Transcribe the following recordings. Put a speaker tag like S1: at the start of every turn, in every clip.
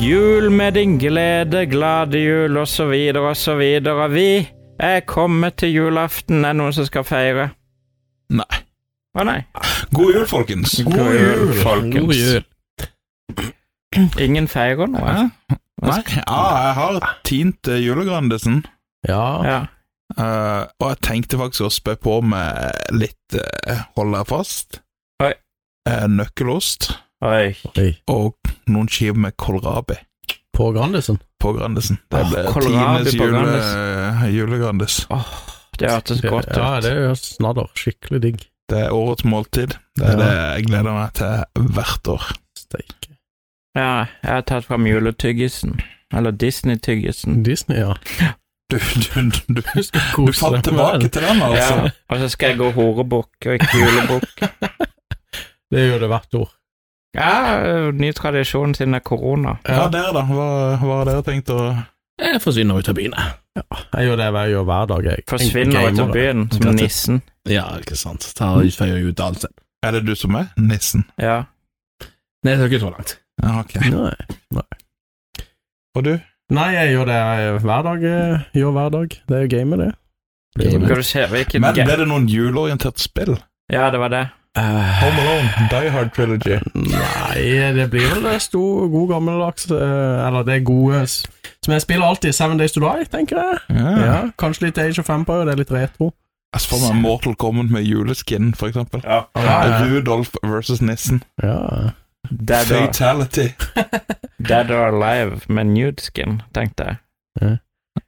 S1: jul med din glede, glade jul, og så videre og så videre. Vi er kommet til julaften. Er det noen som skal feire?
S2: Nei.
S1: Å nei.
S2: God jul, folkens.
S1: God jul, folkens.
S3: God jul.
S1: Ingen feirer altså. nå.
S2: Hæ? Nei, ja, jeg har tint eh, julegrandisen.
S3: Ja.
S1: Ja.
S2: eh, og jeg tenkte faktisk å spø på med litt eh, Hold deg fast.
S1: Oi.
S2: Eh, nøkkelost
S1: Oi.
S3: Oi.
S2: og noen skiver med kålrabi
S3: På Grandisen.
S2: på Grandisen. Det
S1: Åh,
S2: ble
S1: kålrabi
S2: Tines
S1: på
S2: jule,
S1: Grandis.
S2: julegrandis.
S1: Det hørtes godt ut.
S3: Ja, det er jo snadder. Skikkelig digg.
S2: Det er årets måltid. Det er
S3: Ja.
S2: det jeg gleder meg til hvert år.
S3: Steike.
S1: Ja, jeg har tatt fram juletyggisen. Eller Disney-tyggisen.
S3: Disney, ja.
S2: Du, du, du, du,
S3: Du skal
S2: du
S3: kose
S2: fant
S3: deg
S2: tilbake
S3: med den.
S2: til den, altså.
S1: Ja, og så skal jeg gå horebukk og ikke julebukk.
S3: Det er jo det hvert år.
S1: Ja, ny tradisjon siden det er korona.
S2: Ja, dere, da. Hva, hva har dere tenkt å
S4: Jeg forsvinner ut av byen. jeg.
S3: Jeg gjør det hver, jeg gjør hver dag, jeg.
S1: Forsvinner ut av
S3: Gamer.
S1: byen som
S4: Dette-
S1: nissen.
S4: Ja, ikke sant. Tar utfeier ut alt selv.
S2: Er det du som er nissen?
S1: Ja.
S4: Nei, det er ikke så langt.
S2: Ja, ok.
S3: Nei.
S2: Mm. Og du?
S3: Nei, jeg gjør det jeg- hver dag. jeg Gjør hver dag. Det er jo gamet, det. Det er jo
S1: Skal
S3: det.
S1: du se hvilken
S2: Men
S1: ga-
S2: ble det noen juleorientert spill?
S1: Ja, det var det.
S2: Home Alone, Die Hard Trilogy.
S3: Eh, Nei, det blir vel det stor, god gammeldags eh, Eller det gode s- som jeg spiller alltid. Seven Days to Die, tenker jeg.
S2: Ja.
S3: Ja, Kanskje litt Age of Empire, det er litt retro.
S2: Jeg så for meg Mortal Kombat med juleskin, for eksempel.
S3: Ja,
S2: Rudolf versus Nissen.
S3: ja.
S1: Dead or,
S2: Fatality.
S1: dead or Alive med nude skin, tenkte jeg.
S2: Er det,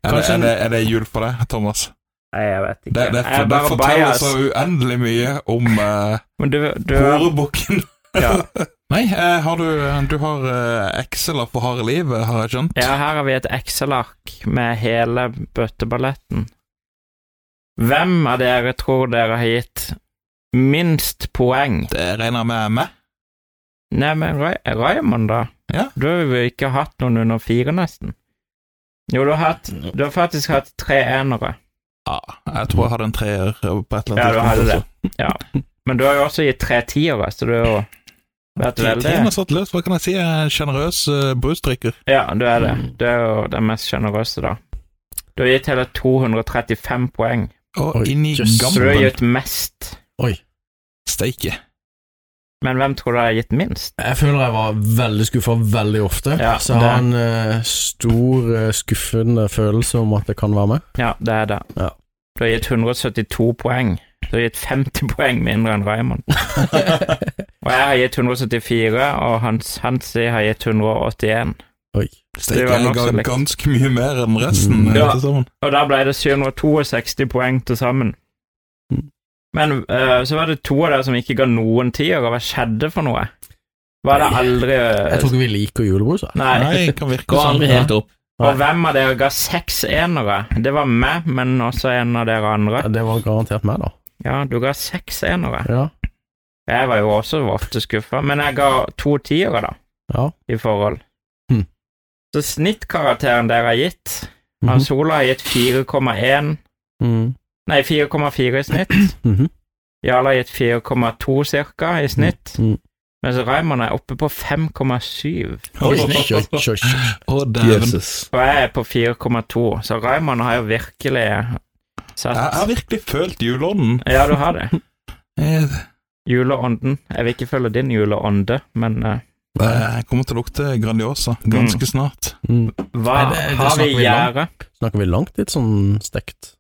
S3: Kanskje
S2: er,
S3: en-
S2: det, er det jul for deg, Thomas?
S1: Nei, jeg vet
S2: Det, det,
S1: jeg er
S2: det
S1: bare
S2: forteller
S1: bias.
S2: så uendelig mye om uh,
S1: Men du, du
S2: horebukken.
S1: ja.
S2: Nei, eh, har du, du har eh, Excel-er for harde livet, har jeg skjønt?
S1: ja, her har vi et Excel-ark med hele bøtteballetten. Hvem av dere tror dere har gitt minst poeng?
S2: Det regner jeg med meg.
S1: Nei, men Ray Raymond, da?
S2: Ja.
S1: Du har jo ikke hatt noen under fire, nesten. Jo, du har, hatt, du har faktisk hatt tre enere,
S2: Ja, jeg tror jeg hadde en treer på et eller annet
S1: Ja, du hadde
S2: tidspunkt.
S1: men du har jo også gitt tre tiere, så du har jo vært veldig
S2: Tiden har satt løs, hva kan jeg si? Jeg er en sjenerøs eh, brusdrikker.
S1: Ja, du er det.
S3: Mm.
S1: Du er jo den mest sjenerøse, da. Du har gitt hele 235 poeng,
S2: Og
S3: Oi,
S2: inn i
S3: jøss.
S1: så du har
S2: gampen.
S1: gitt mest.
S3: Oi.
S2: Steike.
S1: Men hvem tror du har gitt minst?
S3: Jeg føler jeg var veldig skuffa veldig ofte,
S1: Ja,
S3: så jeg har
S1: det-
S3: en eh, stor, eh, skuffende følelse om at det kan være med.
S1: Ja, det er det.
S3: Ja.
S1: Du har gitt 172 poeng. Du har gitt 50 poeng mindre enn Raymond. Og jeg har gitt 174, og Hans Hansi har gitt 181.
S3: Oi.
S1: Det
S2: Steike
S1: var
S2: er
S1: nok så
S2: ga-
S1: likt.
S2: ganske mye mer enn resten.
S3: Mm.
S2: eh,
S1: Ja.
S2: til sammen.
S1: Og da ble det 762 poeng til sammen.
S3: Mm.
S1: Men eh, så var det to av dere som ikke ga noen tier, og hva skjedde for noe? Var det
S3: Nei,
S1: aldri
S3: Jeg tror ikke vi liker julebrus. jeg.
S1: Nei.
S2: Nei, kan virke
S4: Går
S2: sånn.
S4: aldri helt opp.
S1: Og hvem av dere ga seks enere? Det var meg, men også en av dere andre.
S3: Det var garantert meg, da.
S1: Ja, du ga seks enere.
S3: Ja.
S1: Jeg var jo også ofte skuffa, men jeg ga to tiere, da,
S3: ja.
S1: i forhold.
S3: Mm.
S1: Så snittkarakteren dere har gitt
S3: Mhm.
S1: Hans Ola har gitt 4,1
S3: Mm.
S1: Nei, 4,4 i snitt.
S3: Mhm.
S1: Jarle har gitt 4,2 cirka i snitt.
S3: Mm.
S1: Mens Raymond er oppe på 5,7.
S3: Oi,
S2: Oi,
S3: oi, oi, oi.
S2: Å, dæven. Jeg
S1: Og jeg er på 4,2, så Raymond har jo virkelig
S2: jeg har
S1: satt
S2: virkelig følt juleånden.
S1: Ja, du har det.
S2: Jeg
S1: Juleånden. Jeg vil ikke følge din juleånde, men eh,
S2: jeg kommer til å lukte Grandiosa ganske snart.
S3: Mm.
S1: hva
S3: Nei, det- det
S1: har vi
S3: snakker
S1: i
S3: vi langt.
S1: gjerdet?
S3: Snakker vi langt litt sånn stekt?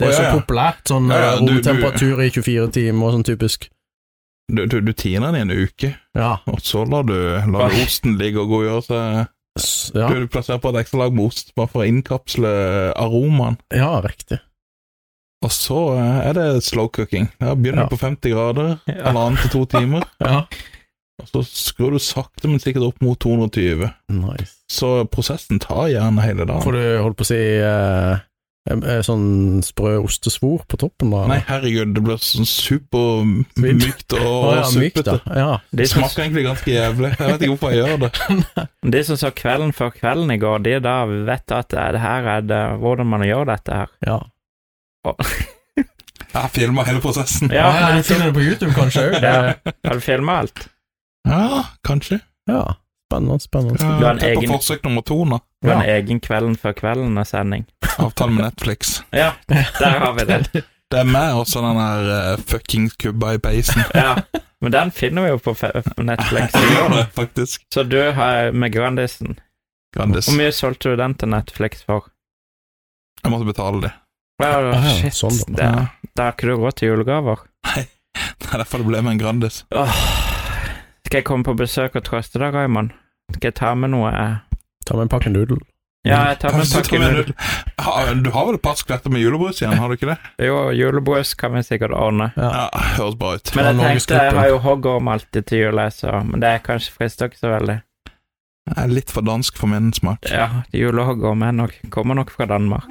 S3: Det
S2: Å,
S3: er
S2: ja,
S3: så
S2: ja.
S3: populært, sånn
S2: Ja, ja,
S3: eh,
S2: du- du-
S3: romtemperatur i 24 timer, sånn typisk.
S2: Du, du, du tiner den i en uke,
S3: Ja.
S2: og så lar du, lar du
S1: Oi.
S2: osten ligge og godgjøre seg.
S3: S- ja.
S2: Du, du plasserer på et ekstra lag med ost bare for å innkapsle aromaen.
S3: ja, riktig.
S2: Og så eh, er det slow cooking. Ja, begynner
S3: Ja.
S2: på 50 grader,
S1: Ja.
S2: halvannen til to timer.
S3: Ja.
S2: Og så skrur du sakte, men sikkert opp mot 220.
S3: Nice.
S2: Så prosessen tar gjerne hele dagen.
S3: Får du holdt på å si eh, em- eh, sånn sprø ostesvor på toppen? da?
S2: Nei, herregud, det blir sånn supermykt og
S3: Å, ja, mykt,
S2: suppete.
S3: da. Ja.
S1: De
S2: Det
S1: som,
S2: smaker egentlig ganske jævlig. Jeg vet ikke hvorfor jeg gjør det.
S1: de som så Kvelden før kvelden i går, de da vet at eh, det her er det, hvordan man gjør dette her.
S3: ja.
S2: Jeg filma hele prosessen.
S1: Ja,
S3: du finner det på YouTube, kanskje?
S1: Ja. Har du filma alt?
S2: Ja, kanskje.
S3: ja.
S5: Spennende, spennende.
S1: Du har
S2: Ja,
S1: en
S2: det er på
S1: egen-
S2: forsøk nummer to nå.
S1: Det var en egen Kvelden før kvelden er sending.
S2: Avtale med Netflix.
S1: Ja, der har vi det.
S2: Det er meg og den der eh, fuckings kubba i peisen.
S1: Ja. Men den finner vi jo på fe- på Netflix.
S2: Jeg gjør det, faktisk.
S1: Så du har med Grandisen.
S2: Grandis.
S1: Hvor mye solgte du den til Netflix for?
S2: Jeg måtte betale det.
S1: Ja,
S5: Ah, ja,
S1: shit.
S5: sånn,
S1: det, da har ikke du råd til julegaver.
S2: Det er derfor det ble med en Grandis.
S1: Åh. Skal jeg komme på besøk og trøste deg, Raymond? Skal jeg ta med noe?
S5: Ta med en pakke nudel.
S1: Ja, jeg tar med en
S2: Kanskje
S1: pakke
S2: ta med
S1: nudler.
S2: Ja, Du har vel et par skvetter med julebrus igjen, har du ikke det?
S1: Jo, julebrus kan vi sikkert ordne.
S2: Ja, Høres bra ut.
S1: Men jeg
S5: Ja,
S1: tenkte, jeg
S5: Norgesgruppen.
S1: har jo hoggorm alltid til jul, jeg, så Men det kanskje frister ikke så veldig.
S2: Jeg er litt for dansk for min smak.
S1: Ja, julehoggorm er nok, kommer nok fra Danmark.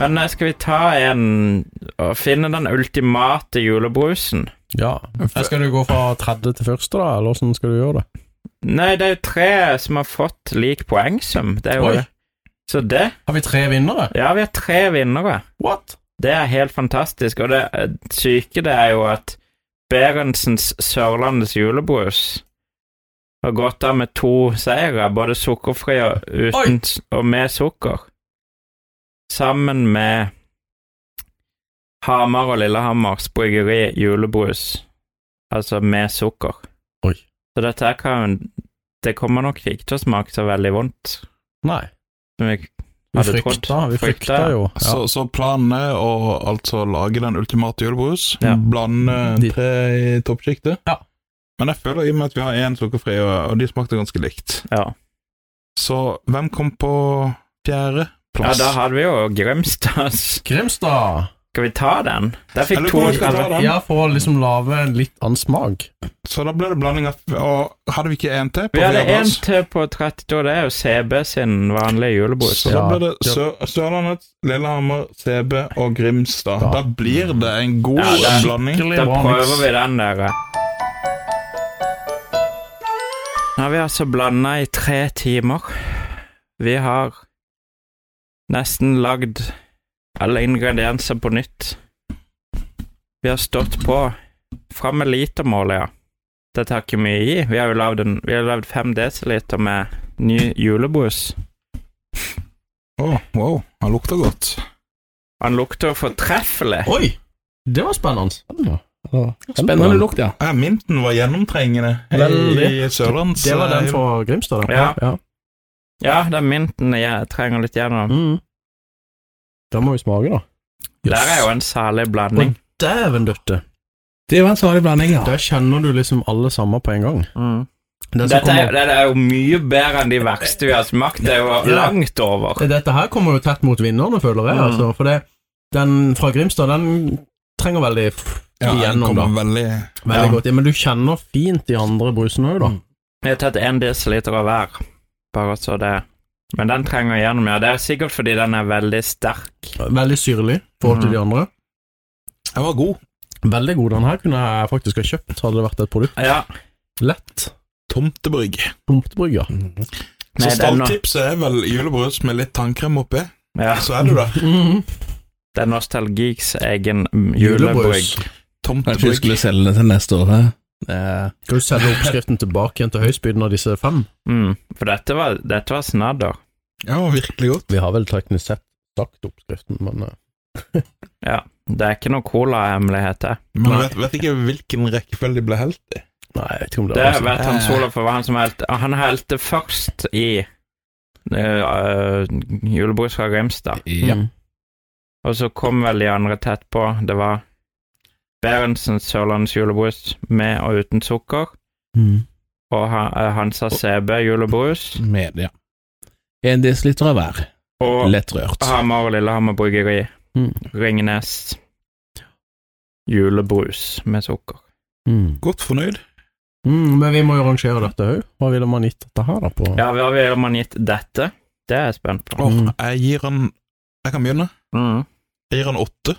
S1: Men eh, skal vi ta en og finne den ultimate julebrusen?
S5: Ja. Skal du gå fra tredje til første, da, eller hvordan skal du gjøre det?
S1: Nei, det er jo tre som har fått lik poengsum. Det er jo
S5: Oi.
S1: det. Så det
S3: Har vi tre vinnere?
S1: Ja, vi har tre vinnere.
S3: What?
S1: Det er helt fantastisk. Og det eh, syke det er jo at Berentsens Sørlandets julebrus har gått av med to seire, både sukkerfri og, uten, s- og med sukker. Sammen med Hamar og Lillehammers bryggeri julebrus, altså med sukker.
S5: Oi.
S1: Så dette her kan Det kommer nok ikke til å smake så veldig vondt.
S5: Nei.
S1: Som vi
S5: Vi
S1: hadde trodd.
S5: frykta, vi
S1: Frykta,
S5: frykta
S1: ja.
S5: jo. Ja.
S2: Så, så planen er å altså lage den ultimate julebrus,
S1: Ja.
S2: blande
S5: De-
S2: tre i toppsjiktet.
S3: Ja.
S2: Men jeg føler i og med at vi har én sukkerfri, og, og de smakte ganske likt.
S1: Ja.
S2: Så hvem kom på fjerde
S1: ja,
S2: plass?
S1: da hadde vi jo Grimstads
S3: Grimstad.
S1: Skal vi ta den? Der fikk
S2: Eller
S1: to
S2: hvor skal vi ta den?
S3: Ja, for å liksom lage en litt
S5: Annen smak.
S2: Så da ble det blanding av Og hadde vi ikke én til? på
S1: Vi hadde
S2: fjerde
S1: en
S2: plass?
S1: til på 32, det er jo CB sin vanlige julebrus.
S2: Så da
S5: Ja.
S2: blir det Sør Sørlandet, Lillehammer, CB og Grimstad.
S5: Ja.
S2: Da blir det en god
S1: Ja, det er-
S2: blanding.
S1: Da prøver vi den der. eh. Nå har vi altså blanda i tre timer. Vi har nesten lagd alle ingredienser på nytt. Vi har stått på. Fram med litermålet, ja. Det tar ikke mye i. Vi har jo lagd en- vi har lagd fem desiliter med ny julebrus.
S2: Å, wow, han lukter godt.
S1: Han lukter fortreffelig.
S3: Oi! Det var spennende.
S4: Spennende lukt, ja.
S2: Ja, minten var gjennomtrengende i
S3: Veldig.
S2: Sørlands... eh,
S3: Det var den fra Grimstad, da.
S1: eh, Ja.
S5: Ja.
S1: Ja, den mynten jeg trenger litt gjennom.
S5: Mm. Da må vi smake, da.
S1: Der er jo en salig blanding.
S3: Dæven døtte.
S4: Det er jo en salig blanding, ja.
S5: Der kjenner du liksom alle sammen på en gang.
S1: Mm.
S5: Den som
S1: Dette er,
S5: kommer,
S1: dette er jo mye bedre enn de verste vi har smakt. Det er jo
S3: Ja.
S1: langt over.
S3: Dette her kommer jo tett mot vinnerne, føler jeg.
S1: Mm.
S3: Altså, for det, den fra Grimstad, den trenger veldig f-
S2: ja, den
S3: igjennom, da.
S2: kommer veldig
S3: Veldig
S2: Ja.
S3: godt. Ja, men du kjenner fint de andre brusene òg, da.
S1: Jeg har tatt én desiliter av hver, bare så det Men den trenger jeg gjennom, ja. Det er sikkert fordi den er veldig sterk.
S3: Veldig syrlig i forhold til de andre.
S2: Den var god.
S3: Veldig god. Den her kunne jeg faktisk ha kjøpt, hadde det vært et produkt.
S1: Ja.
S3: Lett.
S2: Tomtebrygg.
S3: Tomtebrygger.
S1: Nei,
S2: Så
S1: den, no-
S2: stalltipset er vel julebrus med litt tannkrem oppi.
S1: ja.
S2: Så er det da
S1: Mhm. det er Nostalgiks egen mm, julebrygg.
S4: Kanskje vi
S2: tomtebrygg.
S4: skulle selge den til neste år. hæ? Eh,
S3: Skal du selge oppskriften tilbake igjen til høystbydende av disse fem?
S1: Mm. For dette var, dette var snadder.
S2: Ja, virkelig godt.
S5: vi har vel teknisk sett sagt oppskriften, men eh,
S1: Det er ikke noe cola-hemmelighet, det.
S2: Men
S3: Nei.
S2: jeg vet, vet ikke hvilken rekkefølge de ble helt i.
S5: Nei, jeg vet ikke om det
S1: Det
S5: er
S1: vet Hans Olav for hva han som helte. Han helte først i uh, julebrus fra Grimstad.
S4: ja.
S3: Mm.
S1: Og så kom vel de andre tett på. Det var Berentsens Sørlandets julebrus med og uten sukker.
S3: Mm.
S1: Og ha- eh, Hansa CB julebrus.
S4: Med, ja. En desiliter av hver.
S1: Og
S4: Lett rørt.
S1: Hamar og Lillehammer bryggeri.
S5: Mm.
S1: Ringnes julebrus med sukker.
S5: Mm.
S2: Godt fornøyd.
S3: Mm, men vi må jo rangere det.
S5: Dette òg? Hva ville man gitt dette her, da? På?
S1: Ja, hva ville man gitt dette? Det er jeg spent på.
S2: Åh,
S5: Mm.
S2: jeg gir han Jeg kan begynne.
S1: Mm.
S2: Jeg gir han åtte.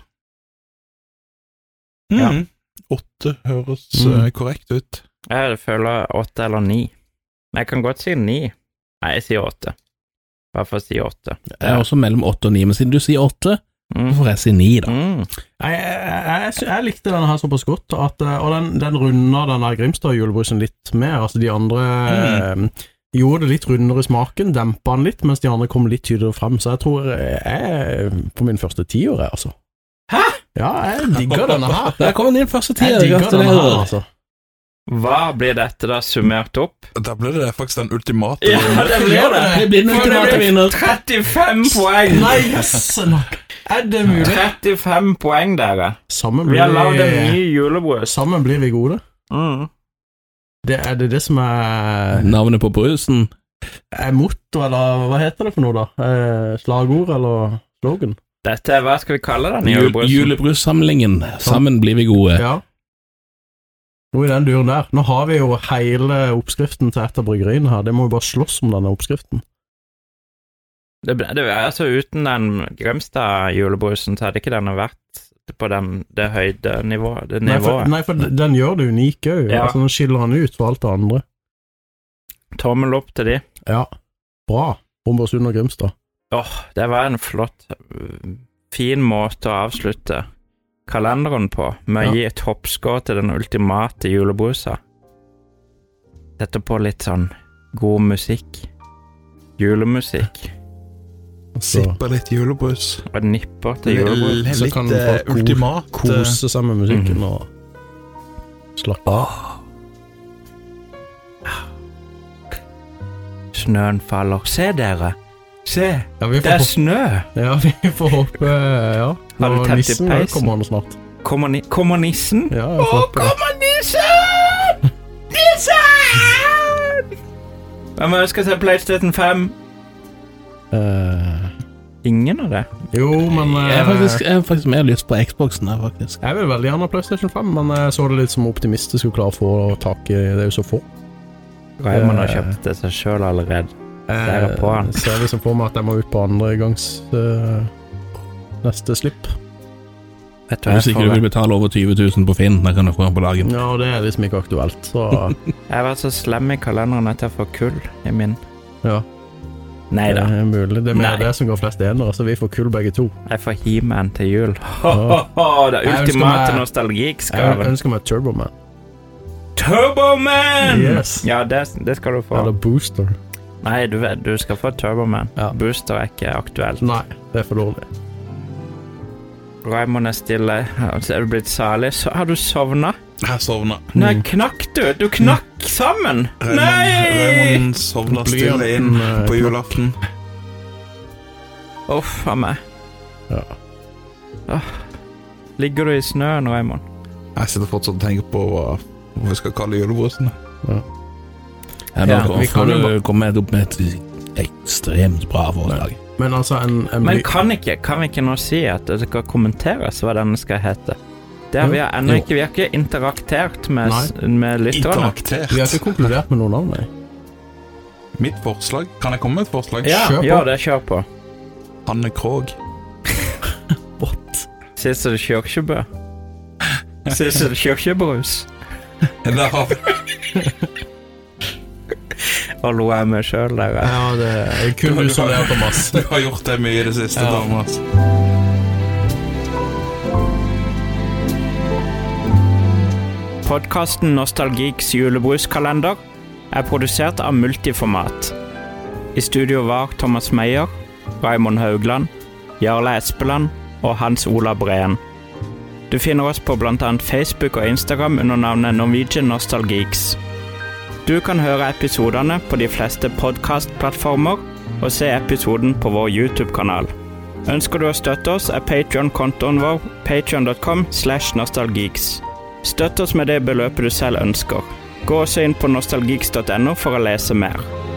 S1: Ja.
S2: Mm. Åtte høres
S5: Mm.
S2: eh, korrekt ut.
S1: Jeg føler åtte eller ni. Jeg kan godt si ni. Nei, jeg sier åtte. Bare for å si åtte.
S4: Jeg er også mellom åtte og ni, men siden du sier åtte,
S1: Mm.
S4: Hvorfor er jeg ni, da?
S1: Mm.
S3: Jeg, jeg, jeg, sy- jeg likte denne her såpass godt, at, eh, og den, den runda denne Grimstad-julebrusen litt mer. Altså, de andre
S1: Mm.
S3: eh, gjorde det litt rundere i smaken, dempa den litt, mens de andre kom litt tydeligere frem. Så jeg tror eh, jeg er på min første tiår, jeg, altså. Hæ?! Ja, jeg digger denne her.
S4: Der kom din første tid.
S3: Jeg digger denne her,
S4: Gratulerer.
S3: altså.
S1: Hva blir dette da summert opp?
S2: Da ble det faktisk den ultimate.
S1: det
S4: Jeg blir
S1: For
S4: den
S1: det
S4: ultimate
S1: blir
S4: vinner.
S1: 35 poeng!
S3: Nice! Er det mulig?
S1: 35 poeng, dere.
S3: Sammen
S1: Vi
S3: blir
S1: har lagd en
S3: vi,
S1: ny julebrus.
S3: sammen blir vi gode.
S1: Mm.
S3: Det er det, det som er,
S4: Eh, Navnet på brusen.
S3: er motto, eller hva heter det for noe, da? Eh, slagord eller slogan?
S1: Dette er Hva skal vi kalle den
S4: Jul-
S1: julebrusen?
S4: Julebrussamlingen. Sammen blir vi gode.
S3: Ja. Noe i den duren der. Nå har vi jo hele oppskriften til et av bryggeriene her. Det må vi bare slåss om, denne oppskriften.
S1: Det ble, det, altså Uten den Grimstad-julebrusen så hadde ikke denne vært på den, det høyde nivået. Det
S3: Nei, for,
S1: nivået.
S3: nei, for den gjør det unik òg.
S1: Ja.
S3: Altså, den skiller han ut for alt det andre.
S1: Tommel opp til de.
S3: Ja. Bra. Hombersund og Grimstad.
S1: Åh, det var en flott, øh, fin måte å avslutte kalenderen på, med
S3: Ja.
S1: å gi et hoppskår til den ultimate julebrusa. Sette på litt sånn god musikk. Julemusikk.
S2: Sippa litt julebrus.
S1: Og nipper til julebrus.
S2: Litt
S3: Så kan
S2: eh,
S3: folk
S2: ultimat. eh,
S3: Kose seg med musikken og slappe av.
S1: Snøen faller. Se, dere! Se,
S3: Ja, vi
S1: det
S3: får,
S1: er snø!
S3: ja, vi får håpe Ja.
S1: Har du
S3: Nå,
S1: tent i
S3: nissen
S1: peisen?
S3: kommer nå snart.
S1: Kommer, ni kommer nissen?
S3: Ja, jeg får håpe det.
S1: nissen! Nissen! Hvem ønsker seg PlayStation 5?
S3: Eh,
S1: Ingen av det.
S3: jo, men eh,
S4: Jeg har faktisk, jeg har faktisk mer lyst på Xboxen her, faktisk.
S3: Jeg vil veldig gjerne ha PlayStation 5, men jeg så det litt som optimist jeg skulle klare å få tak i Det er jo så få.
S1: Raymond har
S3: Eh.
S1: kjøpt det seg sjøl allerede. Der er på han.
S3: Eh, ser liksom for meg at jeg må ut på andre gangs eh, neste slipp.
S1: Vet du hva
S4: Hvis
S1: jeg
S4: ikke du
S1: får?
S4: vil betale over 20 000 på Finn, da kan du få den på dagen.
S3: Ja, og det er liksom ikke aktuelt, så
S1: Jeg har vært så slem i kalenderen at jeg får kull i min.
S3: Ja.
S1: Nei
S3: det
S1: da,
S3: er mulig. Det er mer
S1: Nei.
S3: det som går flest enere, så vi får kull begge to.
S1: jeg får He-Man til jul.
S3: Ja.
S1: det
S3: Jeg
S1: er
S3: ønsker
S1: ultimate
S3: meg- Jeg
S1: nostalgiskaven.
S3: ønsker meg Turboman.
S1: Turboman!
S3: Yes.
S1: Ja, det, det skal du få.
S3: Eller Booster.
S1: Nei, du, vet, du skal få Turboman.
S3: Ja.
S1: Booster er ikke aktuelt.
S3: Nei, det er for dårlig.
S1: Raymond er stille. Altså, Er du blitt salig? Så, har du sovna?
S3: Mm.
S2: Jeg sovna.
S1: Nei, knakk du? Du knakk sammen! Nei!
S2: Raymond sovna stille inn
S3: Blyanten eh,
S2: på julaften.
S1: Uff a meg.
S3: Ja.
S1: Åh. Ligger du i snøen, Raymond?
S2: Jeg sitter fortsatt og tenker på hva hva vi skal kalle julebrusen.
S4: Ja, da
S1: Ja,
S3: vi kan
S4: får
S3: jo
S4: du komme opp med et ekstremt bra forslag.
S3: Men altså, en, en
S1: Men
S3: bly-
S1: kan, ikke, kan vi ikke nå si at det skal kommenteres hva denne skal hete? Det har vi
S3: Jo.
S1: ennå
S4: Jo.
S1: ikke. Vi har ikke interaktert med,
S3: Nei.
S1: s- med lytterne.
S2: Interaktert.
S3: Vi har ikke konkludert med noen navn, nei.
S2: Mitt forslag Kan jeg komme med et forslag?
S1: Ja,
S3: Kjør på.
S1: ja, det kjør på.
S2: Hanne Krogh.
S1: Sissel Kyrkjebø. Sissel Kyrkjebrus.
S2: Der har vi
S1: Og lo jeg meg sjøl der. jeg.
S3: Ja, det er kun du som ler, Thomas.
S2: Du har gjort det mye i det siste,
S3: Ja.
S2: Thomas.
S1: Podkasten Nostalgiks julebruskalender er produsert av Multiformat. I studio var Thomas Meyer, Raymond Haugland, Jarle Espeland og Hans Ola Breen. Du finner oss på bl.a. Facebook og Instagram under navnet Norwegian Nostalgiks. Du kan høre episodene på de fleste podkastplattformer og se episoden på vår YouTube-kanal. Ønsker du å støtte oss, er Patreon-kontoen vår patreon.com slash nostalgiks. Støtt oss med det beløpet du selv ønsker. Gå også inn på nostalgiks.no for å lese mer.